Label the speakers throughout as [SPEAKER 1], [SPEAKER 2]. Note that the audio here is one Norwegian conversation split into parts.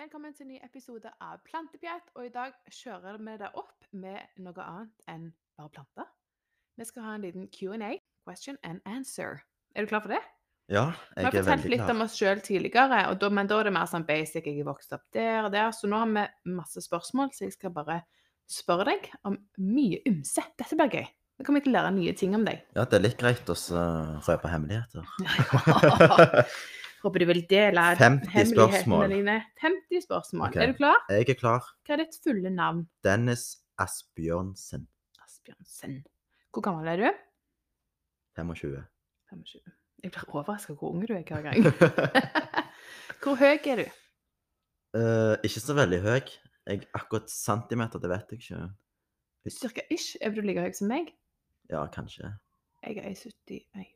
[SPEAKER 1] velkommen til en ny episode av Plantepjatt. Og i dag kjører vi det opp med noe annet enn bare planter. Vi skal ha en liten Q&A, question and answer. Er du klar for det?
[SPEAKER 2] Ja,
[SPEAKER 1] Vi har
[SPEAKER 2] jeg er
[SPEAKER 1] fortalt
[SPEAKER 2] veldig
[SPEAKER 1] litt om
[SPEAKER 2] klar.
[SPEAKER 1] oss sjøl tidligere, og da, men da er det mer sånn basic. Jeg er vokst opp der og der, så nå har vi masse spørsmål, så jeg skal bare spørre deg om mye ymse. Dette blir gøy. Nå kommer jeg til å lære nye ting om deg.
[SPEAKER 2] Ja, det er litt greit å så røpe hemmeligheter.
[SPEAKER 1] Håper du vil dele
[SPEAKER 2] 50
[SPEAKER 1] hemmelighetene
[SPEAKER 2] spørsmål.
[SPEAKER 1] dine. 50 spørsmål.
[SPEAKER 2] Ok.
[SPEAKER 1] Er du klar?
[SPEAKER 2] Jeg er klar.
[SPEAKER 1] Hva er ditt fulle navn?
[SPEAKER 2] Dennis Asbjørnsen,
[SPEAKER 1] Asbjørnsen. Hvor gammel er du?
[SPEAKER 2] 25.
[SPEAKER 1] 25. Jeg blir overraska hvor ung du er hver gang. hvor høy er du?
[SPEAKER 2] Eh, ikke så veldig høy. Jeg, akkurat centimeter, det vet jeg ikke.
[SPEAKER 1] Cirka ish. Er du like høy som meg?
[SPEAKER 2] Ja, kanskje.
[SPEAKER 1] Jeg er 1,71.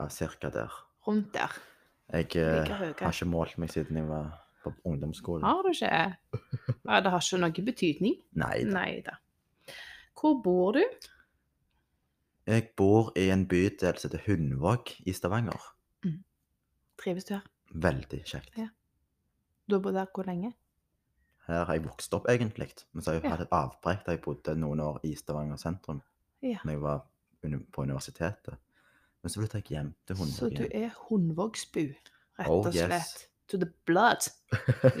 [SPEAKER 2] Ja, cirka der.
[SPEAKER 1] Rundt der.
[SPEAKER 2] Jeg eh,
[SPEAKER 1] Like høy.
[SPEAKER 2] har ikke målt meg siden jeg var på ungdomsskolen.
[SPEAKER 1] Har du ikke? Ja, det har ikke noe betydning.
[SPEAKER 2] Nei. da.
[SPEAKER 1] Nei da. Hvor bor du?
[SPEAKER 2] Jeg bor i en bydel som heter Hundvåg i Stavanger.
[SPEAKER 1] Trives du her?
[SPEAKER 2] Veldig kjekt.
[SPEAKER 1] Ja. Du har bodd her hvor lenge?
[SPEAKER 2] Her har jeg vokst opp egentlig, men så har jeg
[SPEAKER 1] Ja.
[SPEAKER 2] hatt et avbrekk da jeg bodde noen år i Stavanger sentrum.
[SPEAKER 1] Ja.
[SPEAKER 2] Når jeg var uni- på universitetet. Men så flyttet jeg hjem til
[SPEAKER 1] Så du
[SPEAKER 2] Hundvåg.
[SPEAKER 1] er Hundvågsbu, rett
[SPEAKER 2] Oh,
[SPEAKER 1] og
[SPEAKER 2] yes.
[SPEAKER 1] slett. To the blood.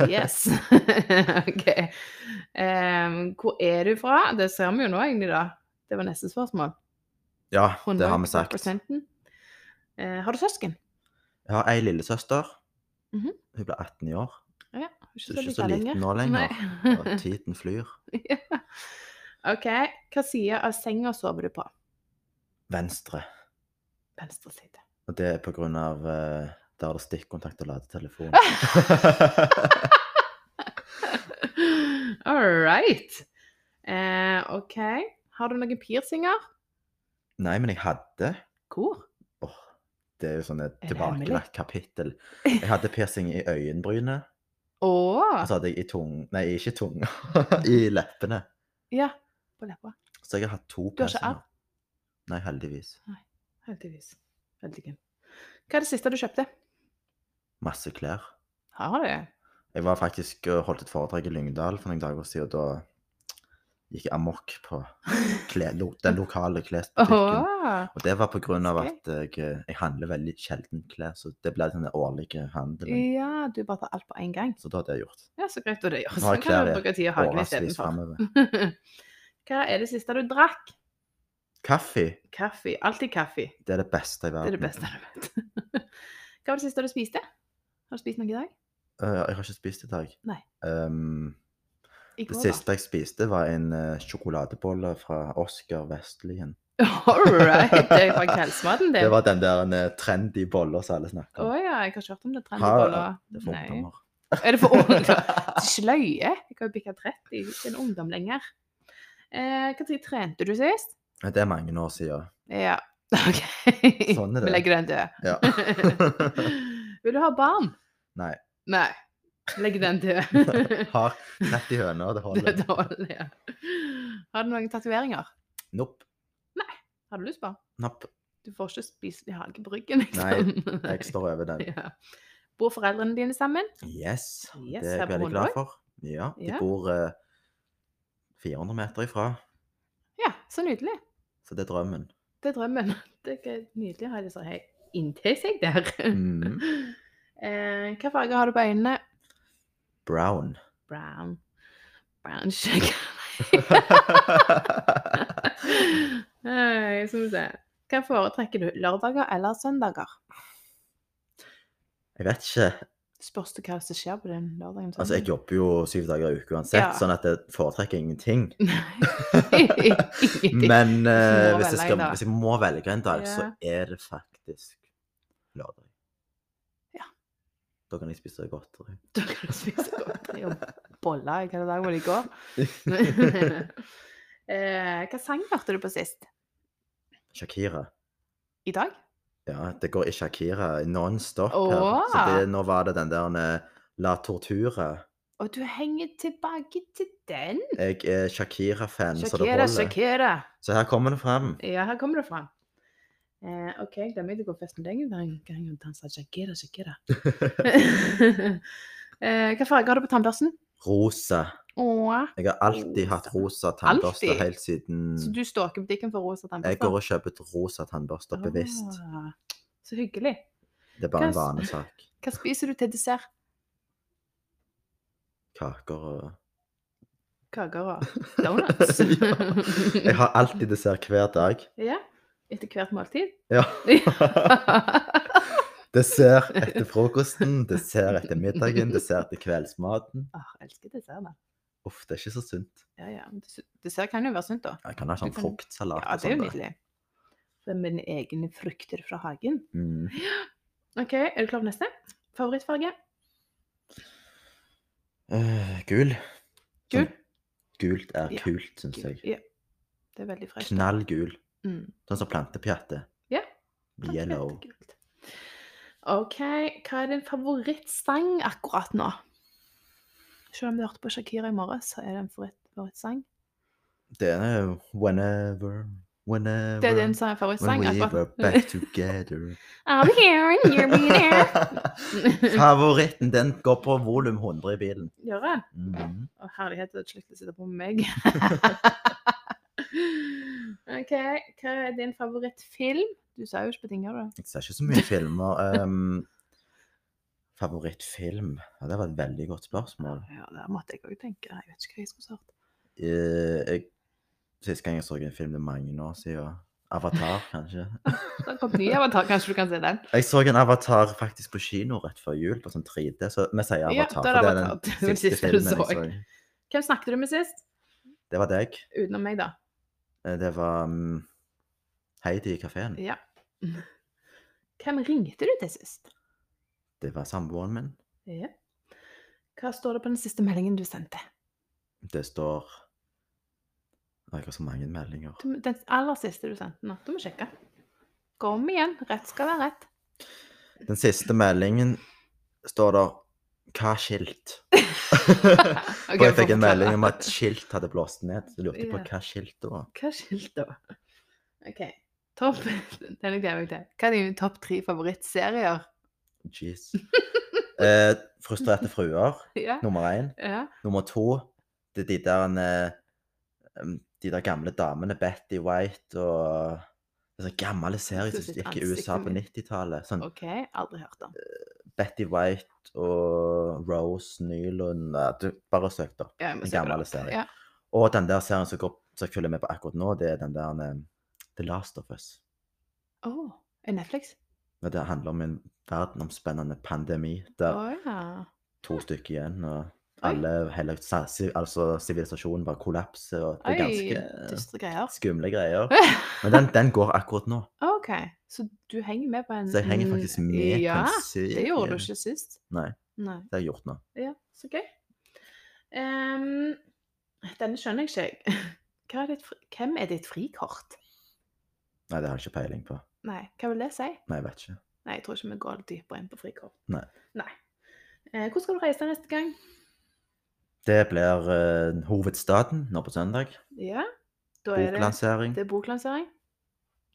[SPEAKER 1] Yes. ok. Em, hvor er du fra? Det ser vi jo nå, egentlig, da. Det var neste spørsmål.
[SPEAKER 2] Ja, det
[SPEAKER 1] Hundvåg
[SPEAKER 2] har vi sagt. Jeg
[SPEAKER 1] representen. Eh, har du søsken?
[SPEAKER 2] har ei lillesøster.
[SPEAKER 1] Mhm.
[SPEAKER 2] Hun ble 18 i år.
[SPEAKER 1] Ikke
[SPEAKER 2] Hun er ikke
[SPEAKER 1] lita
[SPEAKER 2] så liten nå lenger.
[SPEAKER 1] Nei.
[SPEAKER 2] Og tiden flyr.
[SPEAKER 1] Ja. OK. Hva side av senga sover du på?
[SPEAKER 2] Venstre.
[SPEAKER 1] Venstre side.
[SPEAKER 2] Og det er på grunn av eh, der det er stikkontakt og ladetelefon.
[SPEAKER 1] All right. Eh, OK. Har du noen piercinger?
[SPEAKER 2] Nei, men jeg hadde
[SPEAKER 1] Hvor?
[SPEAKER 2] Åh, det er jo sånn et
[SPEAKER 1] Er det hemmelig?
[SPEAKER 2] tilbakelagt kapittel. Jeg hadde piercing i øyenbrynet.
[SPEAKER 1] Å!
[SPEAKER 2] Og så hadde jeg i tung... Nei, ikke i tunga. I leppene.
[SPEAKER 1] Ja. På leppa.
[SPEAKER 2] Så jeg har hatt to
[SPEAKER 1] Du har ikke
[SPEAKER 2] piercinger. Nei, heldigvis.
[SPEAKER 1] Heldigvis. Heldigen. Hva er det siste du kjøpte?
[SPEAKER 2] Masse klær.
[SPEAKER 1] Har du?
[SPEAKER 2] Jeg var faktisk og holdt et foredrag i Lyngdal for noen dager siden, og da gikk jeg amok på kle, lo, den lokale klesbutikken.
[SPEAKER 1] Åh.
[SPEAKER 2] Og det var på grunn av
[SPEAKER 1] gøy.
[SPEAKER 2] at jeg, eh, jeg handler veldig sjelden klær, så det ble den årlige handelen.
[SPEAKER 1] Ja, du bare tar alt på en gang.
[SPEAKER 2] Så da hadde jeg gjort.
[SPEAKER 1] Ja, så greit. Og det gjør
[SPEAKER 2] Nå har
[SPEAKER 1] sånn
[SPEAKER 2] jeg
[SPEAKER 1] kan
[SPEAKER 2] klær
[SPEAKER 1] du
[SPEAKER 2] i
[SPEAKER 1] bruke tid i hagen
[SPEAKER 2] Årevis
[SPEAKER 1] istedenfor.
[SPEAKER 2] framover.
[SPEAKER 1] Hva er det siste du drakk?
[SPEAKER 2] Kaffe,
[SPEAKER 1] Kaffe. Alltid kaffe.
[SPEAKER 2] det er det beste i
[SPEAKER 1] Det
[SPEAKER 2] verden.
[SPEAKER 1] er det beste du vet. Hva var det siste du spiste? Har du spist noe i dag?
[SPEAKER 2] Eh, jeg har ikke spist i dag.
[SPEAKER 1] Nei.
[SPEAKER 2] Ehm,
[SPEAKER 1] I
[SPEAKER 2] det
[SPEAKER 1] går, da.
[SPEAKER 2] siste jeg spiste, var en eh, sjokoladebolle fra Oskar Vestlien.
[SPEAKER 1] All right. Det er faktisk helsematen
[SPEAKER 2] Det
[SPEAKER 1] din.
[SPEAKER 2] var den der eh, trendy bolla som alle
[SPEAKER 1] Å
[SPEAKER 2] snakker om.
[SPEAKER 1] ja, jeg har ikke hørt om det.
[SPEAKER 2] Har-
[SPEAKER 1] Trendboller.
[SPEAKER 2] Det er for
[SPEAKER 1] Nei.
[SPEAKER 2] ungdommer.
[SPEAKER 1] Er det for ungdom? Sløye? Jeg har jo bikka 30, jeg er ikke en ungdom lenger. Eh, Når trente du sist?
[SPEAKER 2] Nei, Det er mange år siden.
[SPEAKER 1] Ja, OK.
[SPEAKER 2] Sånn er det.
[SPEAKER 1] Vi legger den død.
[SPEAKER 2] Ja.
[SPEAKER 1] Vil du ha barn?
[SPEAKER 2] Nei.
[SPEAKER 1] Nei. Legger den død.
[SPEAKER 2] Har 30 høner, det
[SPEAKER 1] det
[SPEAKER 2] holder.
[SPEAKER 1] dårlig, ja. Har du noen tatoveringer?
[SPEAKER 2] Nopp.
[SPEAKER 1] Har du lyst på?
[SPEAKER 2] Napp.
[SPEAKER 1] Du får ikke spise de halve på ryggen, liksom.
[SPEAKER 2] Jeg står over den.
[SPEAKER 1] Ja. Bor foreldrene dine sammen?
[SPEAKER 2] Yes.
[SPEAKER 1] Yes,
[SPEAKER 2] Det er
[SPEAKER 1] her
[SPEAKER 2] jeg
[SPEAKER 1] på
[SPEAKER 2] veldig
[SPEAKER 1] Hundvåg.
[SPEAKER 2] glad for. Ja, de
[SPEAKER 1] Ja.
[SPEAKER 2] bor eh, 400 meter ifra,
[SPEAKER 1] Ja, så nydelig.
[SPEAKER 2] så det er drømmen.
[SPEAKER 1] Det er drømmen. Det er ikke nydelig å ha disse her inntil seg der.
[SPEAKER 2] Mhm.
[SPEAKER 1] Eh, hva farge har du på øynene?
[SPEAKER 2] Brown.
[SPEAKER 1] Brown. Brown sugar. Nei, skal vi se. Hva foretrekker du? Lørdager eller søndager?
[SPEAKER 2] Jeg vet ikke.
[SPEAKER 1] Spørs det hva som skjer på den lørdagen.
[SPEAKER 2] Altså, jeg jobber jo syv dager i uke uansett,
[SPEAKER 1] Ja.
[SPEAKER 2] sånn at jeg foretrekker ingenting.
[SPEAKER 1] jeg
[SPEAKER 2] Men eh,
[SPEAKER 1] må velge
[SPEAKER 2] hvis, jeg
[SPEAKER 1] en
[SPEAKER 2] skal,
[SPEAKER 1] dag.
[SPEAKER 2] hvis jeg må velge en dag, så
[SPEAKER 1] Ja.
[SPEAKER 2] er det faktisk lørdag.
[SPEAKER 1] Ja.
[SPEAKER 2] Da kan jeg spise godteri.
[SPEAKER 1] Da kan du spise godteri og boller. Hva dag var det i går? eh, hva sang hørte du på sist?
[SPEAKER 2] Shakira.
[SPEAKER 1] I dag?
[SPEAKER 2] Ja, det går i Shakira nonstop
[SPEAKER 1] Åh.
[SPEAKER 2] her. Så det, nå var det den der eh, La Tortura.
[SPEAKER 1] Og du henger tilbake til den?
[SPEAKER 2] Jeg er Shakira-fan, så det
[SPEAKER 1] Shakira,
[SPEAKER 2] holder.
[SPEAKER 1] Shakira.
[SPEAKER 2] Så her kommer det fram.
[SPEAKER 1] Ja, her kommer det fram. Eh, OK, jeg glemmer ikke å gå fest med deg en gang og danse Shakira, Shakira. Eh, hva farge har du på tannbørsten?
[SPEAKER 2] Rosa.
[SPEAKER 1] Åh.
[SPEAKER 2] Jeg har alltid hatt rosa tannbørste
[SPEAKER 1] Alltid?
[SPEAKER 2] helt siden
[SPEAKER 1] Så du stalker butikken for rosa
[SPEAKER 2] Mm. Jeg
[SPEAKER 1] tannbørster?
[SPEAKER 2] går og kjøper et rosa tannbørster bevisst.
[SPEAKER 1] Ah, så hyggelig.
[SPEAKER 2] Det er bare en
[SPEAKER 1] Hva s-
[SPEAKER 2] vanesak.
[SPEAKER 1] Hva spiser du til dessert?
[SPEAKER 2] Kaker og
[SPEAKER 1] Kaker og donuts?
[SPEAKER 2] Ja. Jeg har alltid dessert hver dag.
[SPEAKER 1] ja. Etter hvert måltid?
[SPEAKER 2] Ja.
[SPEAKER 1] ah,
[SPEAKER 2] Dessert etter frokosten, dessert etter middagen, dessert til kveldsmaten.
[SPEAKER 1] Ah, jeg elsker dessert, da.
[SPEAKER 2] Uff, det er ikke så sunt.
[SPEAKER 1] Ja, ja. men dess- Dessert kan jo være sunt, da.
[SPEAKER 2] Jeg kan ha sånn
[SPEAKER 1] Du kan-
[SPEAKER 2] fruktsalat.
[SPEAKER 1] Ja,
[SPEAKER 2] og
[SPEAKER 1] det er jo
[SPEAKER 2] sånt, sånn, da.
[SPEAKER 1] nydelig. Det er mine egne frukter fra hagen.
[SPEAKER 2] Mm.
[SPEAKER 1] OK, er du klar for neste? Favorittfarge?
[SPEAKER 2] Eh, gul.
[SPEAKER 1] Gul?
[SPEAKER 2] Sånn, gult er
[SPEAKER 1] Ja,
[SPEAKER 2] kult, syns
[SPEAKER 1] Gul.
[SPEAKER 2] jeg.
[SPEAKER 1] Ja. Det er veldig fresht.
[SPEAKER 2] Knallgul.
[SPEAKER 1] Mm.
[SPEAKER 2] Sånn som plantepjatte.
[SPEAKER 1] Ja,
[SPEAKER 2] Yellow.
[SPEAKER 1] Kjempekult. OK, hva er din favorittsang akkurat nå? Selv om du hørte på Shakira i morges, så er det en favoritt- favorittsang.
[SPEAKER 2] Det er jo whenever, whenever
[SPEAKER 1] Det er din sa-
[SPEAKER 2] When
[SPEAKER 1] favorittsang
[SPEAKER 2] we were
[SPEAKER 1] akkurat
[SPEAKER 2] back together.
[SPEAKER 1] I'll be here and you'll be there.
[SPEAKER 2] Favoritten, den går på volum 100 i bilen.
[SPEAKER 1] Gjør det?
[SPEAKER 2] Mhm.
[SPEAKER 1] Å, herlighet, det er slutt å sitte på meg. OK, hva er din favorittfilm? Du sa jo ikke betinga, du.
[SPEAKER 2] Jeg ser ikke så mye filmer. ehm, favorittfilm? Ja, det var et veldig godt spørsmål.
[SPEAKER 1] Ja, der måtte jeg òg tenke. Jeg vet ikke hva jeg skulle svart.
[SPEAKER 2] Eh, jeg, sist gang jeg så en film, det er mange år siden. Avatar, kanskje.
[SPEAKER 1] Det kom ny avatar, kanskje du kan se den?
[SPEAKER 2] Jeg så en avatar faktisk på kino rett før jul, på sånn 3D. Så vi sier
[SPEAKER 1] Ja,
[SPEAKER 2] avatar,
[SPEAKER 1] da er
[SPEAKER 2] for det
[SPEAKER 1] Avatar.
[SPEAKER 2] er
[SPEAKER 1] Det var
[SPEAKER 2] den
[SPEAKER 1] den
[SPEAKER 2] siste
[SPEAKER 1] siste du
[SPEAKER 2] filmen jeg
[SPEAKER 1] så.
[SPEAKER 2] så.
[SPEAKER 1] Hvem snakket du med sist?
[SPEAKER 2] Det var deg.
[SPEAKER 1] Utenom meg, da.
[SPEAKER 2] Eh, Det var mm, Heidi i kafeen.
[SPEAKER 1] Ja. Hvem ringte du til sist?
[SPEAKER 2] Det var samboeren min.
[SPEAKER 1] Ja. Hva står det på den siste meldingen du sendte?
[SPEAKER 2] Det står Å, Jeg har så mange meldinger.
[SPEAKER 1] Du må- Den aller siste du sendte nå. Du må sjekke. Gå om igjen. Rett skal være rett.
[SPEAKER 2] Den siste meldingen står der 'Hva skilt?'
[SPEAKER 1] Ok,
[SPEAKER 2] For jeg fikk
[SPEAKER 1] fortell.
[SPEAKER 2] en melding om at skilt hadde blåst ned. Så lurte jeg på
[SPEAKER 1] Ja.
[SPEAKER 2] hva skilt det var.
[SPEAKER 1] Hva skilt da? OK. Topp Denne gleder jeg meg til. Hva er dine topp tre favorittserier?
[SPEAKER 2] Jeez. Eh, frustrerte fruer,
[SPEAKER 1] Ja.
[SPEAKER 2] nummer én.
[SPEAKER 1] ja.
[SPEAKER 2] Nummer to, det er de der eh, um, De der gamle damene, Betty White og det er sånn gamle serier
[SPEAKER 1] Du
[SPEAKER 2] som
[SPEAKER 1] sitt
[SPEAKER 2] gikk i USA
[SPEAKER 1] ansiktet
[SPEAKER 2] på
[SPEAKER 1] mitt.
[SPEAKER 2] 90-tallet. Sånn
[SPEAKER 1] OK. Aldri hørt om.
[SPEAKER 2] Betty White og Rose Nylund eh, Du bare søk det opp.
[SPEAKER 1] Ja, jeg må
[SPEAKER 2] En
[SPEAKER 1] se på det.
[SPEAKER 2] gammel serie.
[SPEAKER 1] Ja.
[SPEAKER 2] Og den der serien som, går, som jeg følger med på akkurat nå, det er den der eh, The Last of Us.
[SPEAKER 1] Åh, er Netflix?
[SPEAKER 2] Men det handler om en verdenomspennende pandemi
[SPEAKER 1] Å
[SPEAKER 2] der
[SPEAKER 1] ja.
[SPEAKER 2] to stykker igjen, og alle hele sa- si- altså sivilisasjonen bare kollapser, og det er
[SPEAKER 1] Oi,
[SPEAKER 2] ganske
[SPEAKER 1] dystre greier.
[SPEAKER 2] skumle greier. Men den, den går akkurat nå,
[SPEAKER 1] OK, så du henger med på en
[SPEAKER 2] så jeg henger faktisk med
[SPEAKER 1] Mm, Ja,
[SPEAKER 2] på en serie.
[SPEAKER 1] det gjorde du ikke sist.
[SPEAKER 2] Nei.
[SPEAKER 1] Nei.
[SPEAKER 2] Det har jeg gjort nå.
[SPEAKER 1] Ja, så gøy. Ehm, denne skjønner jeg ikke. Hva er ditt fri... Hvem er ditt frikort?
[SPEAKER 2] Nei, det har jeg ikke peiling på.
[SPEAKER 1] Nei, hva vil det si?
[SPEAKER 2] Nei, jeg vet ikke.
[SPEAKER 1] Nei, jeg tror ikke vi går dypere inn på frikort.
[SPEAKER 2] Nei.
[SPEAKER 1] Nei. Eh, hvor skal du reise neste gang?
[SPEAKER 2] Det blir eh, hovedstaden nå på søndag.
[SPEAKER 1] Ja, da er det,
[SPEAKER 2] Boklansering.
[SPEAKER 1] det er boklansering.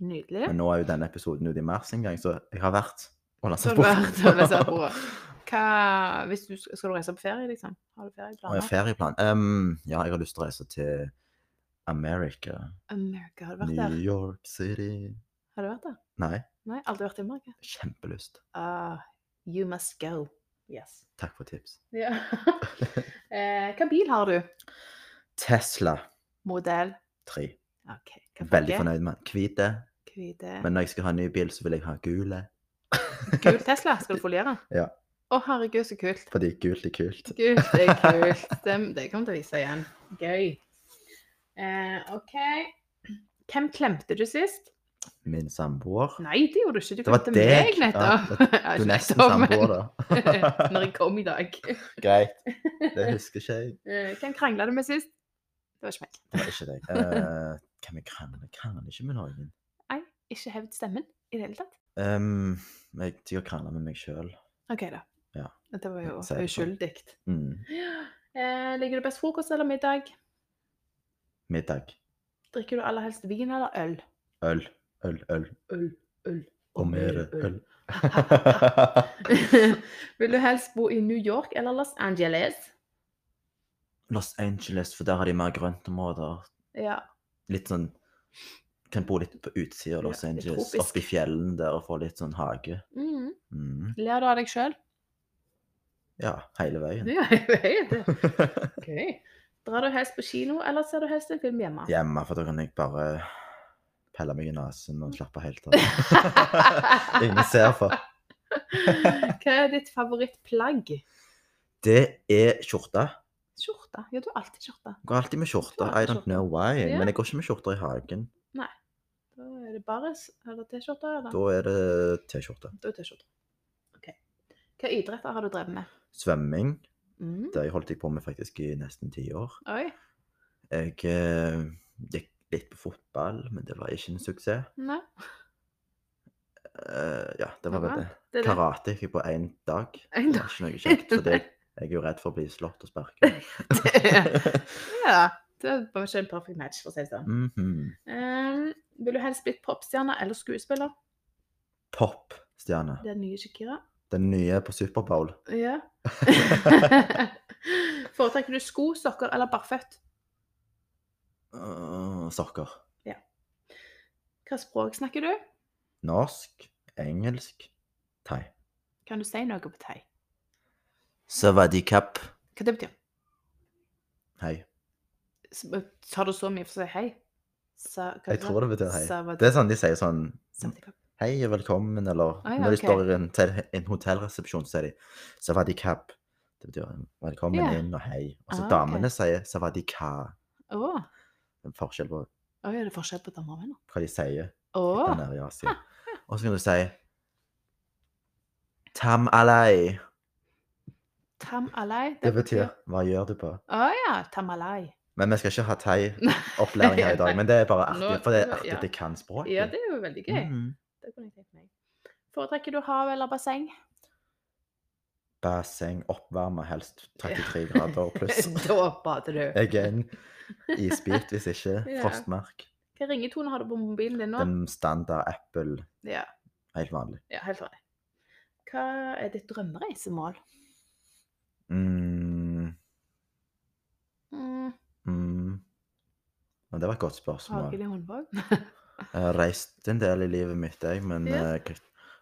[SPEAKER 1] Nydelig.
[SPEAKER 2] Men nå er jo denne episoden ute i mars en gang, så jeg har vært og
[SPEAKER 1] Så
[SPEAKER 2] lasta
[SPEAKER 1] har du vært og lest bok. Hva, hvis du, skal du reise på ferie, liksom? Har du
[SPEAKER 2] Og jeg har
[SPEAKER 1] ferieplaner?
[SPEAKER 2] ferieplan. Ehm, ja, jeg har lyst til å reise til America.
[SPEAKER 1] America, har du vært
[SPEAKER 2] New
[SPEAKER 1] der?
[SPEAKER 2] York City.
[SPEAKER 1] Har du vært der?
[SPEAKER 2] Nei,
[SPEAKER 1] Nei, aldri vært i Amerika.
[SPEAKER 2] kjempelyst.
[SPEAKER 1] Ah, you must go. Yes.
[SPEAKER 2] Takk for tips.
[SPEAKER 1] Ja. eh, hva bil har du?
[SPEAKER 2] Tesla
[SPEAKER 1] Modell?
[SPEAKER 2] 3.
[SPEAKER 1] Ok. Hva
[SPEAKER 2] Veldig fornøyd med den. Hvite.
[SPEAKER 1] Hvite.
[SPEAKER 2] Men når jeg skal ha en ny bil, så vil jeg ha gule.
[SPEAKER 1] Gul Tesla, skal du foliere?
[SPEAKER 2] Ja.
[SPEAKER 1] Å, herregud, så kult.
[SPEAKER 2] Fordi gult er kult.
[SPEAKER 1] Gult det er kult. Det, det kommer til å vise igjen. Gøy. Eh, ok. Hvem klemte du sist?
[SPEAKER 2] Min samboer.
[SPEAKER 1] Nei, det gjorde du ikke. Du
[SPEAKER 2] Det var
[SPEAKER 1] kom til
[SPEAKER 2] deg.
[SPEAKER 1] meg nettopp.
[SPEAKER 2] Ja,
[SPEAKER 1] Ja,
[SPEAKER 2] Du
[SPEAKER 1] ikke
[SPEAKER 2] er nesten
[SPEAKER 1] nettopp, men
[SPEAKER 2] samboer, da.
[SPEAKER 1] Når jeg kom i dag.
[SPEAKER 2] Greit. Det husker ikke jeg.
[SPEAKER 1] Eh, Hvem krangla du med sist? Det var ikke meg.
[SPEAKER 2] Det var ikke deg. Eh, kan vi krangle? Jeg Krangler ikke med noen.
[SPEAKER 1] Nei, ikke hevd stemmen i det hele tatt.
[SPEAKER 2] Ehm, jeg sikkert krangler med meg sjøl.
[SPEAKER 1] OK, da.
[SPEAKER 2] Ja.
[SPEAKER 1] Dette var jo
[SPEAKER 2] Si det sånn.
[SPEAKER 1] uskyldig.
[SPEAKER 2] Mm.
[SPEAKER 1] Eh, Liker du best frokost eller middag?
[SPEAKER 2] Middag.
[SPEAKER 1] Drikker du aller helst vin eller øl?
[SPEAKER 2] Øl. Øl, øl.
[SPEAKER 1] Øl, øl.
[SPEAKER 2] Og mer øl.
[SPEAKER 1] Vil du helst bo i New York eller Los Angeles?
[SPEAKER 2] Los Angeles, for der har de mer grøntområder.
[SPEAKER 1] Ja.
[SPEAKER 2] Litt sånn Kan bo litt på utsida av Los
[SPEAKER 1] Ja, litt
[SPEAKER 2] Angeles,
[SPEAKER 1] tropisk.
[SPEAKER 2] oppe i fjellene der og få litt sånn hage.
[SPEAKER 1] Mm.
[SPEAKER 2] Mm.
[SPEAKER 1] Ler du av deg sjøl?
[SPEAKER 2] Ja, hele veien.
[SPEAKER 1] Ja, jeg vet det. Gøy. Drar du helst på kino, eller ser du helst en film hjemme?
[SPEAKER 2] Hjemme, for da kan jeg bare pelle meg i nesen og slappe helt av. Ingen ser på.
[SPEAKER 1] Hva er ditt favorittplagg?
[SPEAKER 2] Det er skjorte.
[SPEAKER 1] Skjorte. Ja, du har alltid skjorte.
[SPEAKER 2] Går alltid med skjorte.
[SPEAKER 1] Går alltid
[SPEAKER 2] I don't
[SPEAKER 1] skjorte.
[SPEAKER 2] know why.
[SPEAKER 1] Ja.
[SPEAKER 2] Men jeg går ikke med skjorter i hagen.
[SPEAKER 1] Da er det baris eller T-skjorte. eller?
[SPEAKER 2] Da er det T-skjorte.
[SPEAKER 1] Da er det T-skjorte. Ok. Hva idretter har du drevet med?
[SPEAKER 2] Svømming.
[SPEAKER 1] Mm.
[SPEAKER 2] Det holdt jeg på med faktisk i nesten ti år.
[SPEAKER 1] Oi.
[SPEAKER 2] Jeg eh, gikk litt på fotball, men det var ikke en suksess.
[SPEAKER 1] Nei.
[SPEAKER 2] Eh, ja, det var vel det.
[SPEAKER 1] Det er det.
[SPEAKER 2] Karate gikk jeg på én dag.
[SPEAKER 1] En
[SPEAKER 2] Det
[SPEAKER 1] dag.
[SPEAKER 2] var ikke noe kjekt, for det- jeg er jo redd for å bli slått og sparket.
[SPEAKER 1] ja. Det var ikke en perfekt match, for å si det sånn.
[SPEAKER 2] Mhm.
[SPEAKER 1] Ehm, vil du helst blitt popstjerne eller skuespiller?
[SPEAKER 2] Popstjerne.
[SPEAKER 1] Det er den nye Shakira.
[SPEAKER 2] Den nye på Superbowl.
[SPEAKER 1] Ja. Foretrekker du sko, sokker eller barføtt?
[SPEAKER 2] Uh, sokker.
[SPEAKER 1] Hva språk snakker du?
[SPEAKER 2] Norsk, engelsk, thai.
[SPEAKER 1] Kan du si noe på thai?
[SPEAKER 2] Savadikap.
[SPEAKER 1] Hva det betyr?
[SPEAKER 2] Hei.
[SPEAKER 1] S- Tar du så mye for å si hei? Sa, hva
[SPEAKER 2] Jeg tror det betyr hei.
[SPEAKER 1] Sa- hva-
[SPEAKER 2] Det er sånn de sier sånn
[SPEAKER 1] sa- hva-
[SPEAKER 2] Hei og velkommen, eller
[SPEAKER 1] Ah, ja,
[SPEAKER 2] når de
[SPEAKER 1] ok.
[SPEAKER 2] står i en, til en hotellresepsjon, så sier de Savadikap. Det betyr velkommen
[SPEAKER 1] Ja.
[SPEAKER 2] inn og hei. Og så
[SPEAKER 1] Ah, ok.
[SPEAKER 2] damene sier Savadika. sånn-
[SPEAKER 1] Å,
[SPEAKER 2] Det er en forskjell på
[SPEAKER 1] Oi, er det forskjell på damer og menn?
[SPEAKER 2] hva de sier. der
[SPEAKER 1] Å,
[SPEAKER 2] nede i Asia. Og så kan du si Tam alai.
[SPEAKER 1] tamalai.
[SPEAKER 2] Det betyr Hva gjør du på?
[SPEAKER 1] Å ja, tamalai.
[SPEAKER 2] Men vi skal ikke ha thai-opplæring her i dag. Men det er bare artig,
[SPEAKER 1] Nå-
[SPEAKER 2] for det er
[SPEAKER 1] nå-
[SPEAKER 2] artig
[SPEAKER 1] ja.
[SPEAKER 2] at jeg kan språket.
[SPEAKER 1] Ja, det er jo veldig gøy.
[SPEAKER 2] Mhm.
[SPEAKER 1] Det kunne jeg tenkt meg. Foretrekker du hav eller basseng?
[SPEAKER 2] Basseng, oppvarme, helst 33 grader pluss.
[SPEAKER 1] da bader du.
[SPEAKER 2] Jeg er en isbit, hvis ikke
[SPEAKER 1] Ja.
[SPEAKER 2] frostmark.
[SPEAKER 1] Hva ringetone har du på mobilen din nå?
[SPEAKER 2] Den standard Apple,
[SPEAKER 1] Ja,
[SPEAKER 2] helt vanlig.
[SPEAKER 1] ja, helt riktig. Hva er ditt drømmereisemål?
[SPEAKER 2] Mm,
[SPEAKER 1] Mm,
[SPEAKER 2] mm. Ja, Det var et godt spørsmål.
[SPEAKER 1] Hagen i Håndvåg?
[SPEAKER 2] Jeg har reist en del i livet mitt, jeg, men
[SPEAKER 1] Ja.
[SPEAKER 2] eh, jeg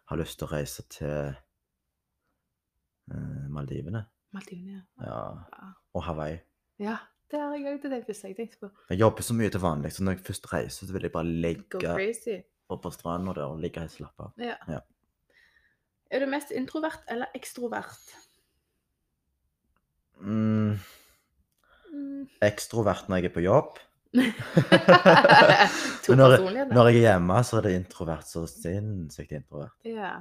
[SPEAKER 2] har lyst til å reise til eh, Maldivene
[SPEAKER 1] Maldivene,
[SPEAKER 2] ja,
[SPEAKER 1] ja.
[SPEAKER 2] og Hawaii.
[SPEAKER 1] Ja, det har jeg òg. Det er det første jeg tenkte på.
[SPEAKER 2] Jeg jobber så mye til vanlig, så når jeg først reiser, så vil jeg bare
[SPEAKER 1] Go
[SPEAKER 2] ligge
[SPEAKER 1] crazy.
[SPEAKER 2] oppe på stranda der og ligge og slappe av.
[SPEAKER 1] Er du mest introvert eller ekstrovert?
[SPEAKER 2] Mm,
[SPEAKER 1] Mm.
[SPEAKER 2] ekstrovert når jeg er på jobb.
[SPEAKER 1] to
[SPEAKER 2] Men når,
[SPEAKER 1] personligheter.
[SPEAKER 2] når jeg er hjemme, så er det introvert så sinnssykt introvert.
[SPEAKER 1] Ja.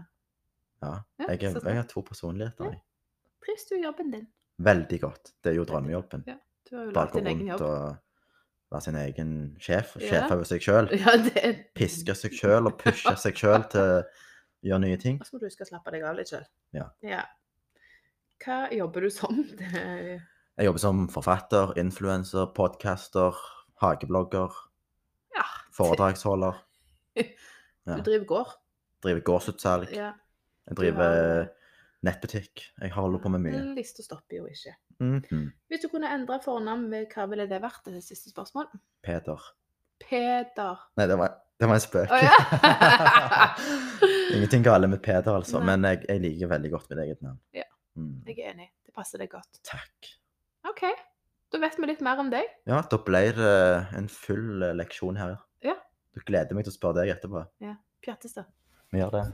[SPEAKER 2] Ja.
[SPEAKER 1] Ja,
[SPEAKER 2] Jeg,
[SPEAKER 1] så
[SPEAKER 2] er,
[SPEAKER 1] smart.
[SPEAKER 2] jeg har to personligheter.
[SPEAKER 1] Ja.
[SPEAKER 2] Jeg.
[SPEAKER 1] Trives du i jobben din?
[SPEAKER 2] Veldig godt. Det er jo drømmejobben.
[SPEAKER 1] Du har jo
[SPEAKER 2] Bare
[SPEAKER 1] lagd
[SPEAKER 2] gå
[SPEAKER 1] din egen
[SPEAKER 2] rundt
[SPEAKER 1] jobb.
[SPEAKER 2] og være sin egen sjef.
[SPEAKER 1] Ja.
[SPEAKER 2] Sjef over seg sjøl.
[SPEAKER 1] Ja, det er...
[SPEAKER 2] piske seg sjøl og pushe seg sjøl til å gjøre nye ting.
[SPEAKER 1] Og så må du huske å slappe deg av litt selv.
[SPEAKER 2] Ja.
[SPEAKER 1] Hva jobber du som? Det er-
[SPEAKER 2] Jeg jobber som forfatter, influenser, podcaster, hageblogger,
[SPEAKER 1] Ja,
[SPEAKER 2] foredragsholder.
[SPEAKER 1] du
[SPEAKER 2] Ja.
[SPEAKER 1] driver gård.
[SPEAKER 2] Driver gårdsutsalg.
[SPEAKER 1] Ja.
[SPEAKER 2] Jeg
[SPEAKER 1] du har-
[SPEAKER 2] driver nettbutikk. Jeg holder på med mye.
[SPEAKER 1] Lista stopper jo ikke.
[SPEAKER 2] Mhm.
[SPEAKER 1] Hvis du kunne endre fornavn, hva ville det vært? Det er det siste spørsmål.
[SPEAKER 2] Peder.
[SPEAKER 1] Peder.
[SPEAKER 2] Nei, det var, det var en spøk.
[SPEAKER 1] Å ja.
[SPEAKER 2] Ingenting gale med Peder, altså.
[SPEAKER 1] Nei.
[SPEAKER 2] Men jeg, jeg liker veldig godt mitt eget navn.
[SPEAKER 1] Ja.
[SPEAKER 2] Mm.
[SPEAKER 1] Jeg er enig. Det passer deg godt.
[SPEAKER 2] Takk.
[SPEAKER 1] OK. Da vet vi litt mer om deg.
[SPEAKER 2] Ja, da ble det en full eh, leksjon her.
[SPEAKER 1] Ja.
[SPEAKER 2] Du gleder meg til å spørre deg etterpå.
[SPEAKER 1] Pjattestad.
[SPEAKER 2] Vi gjør det.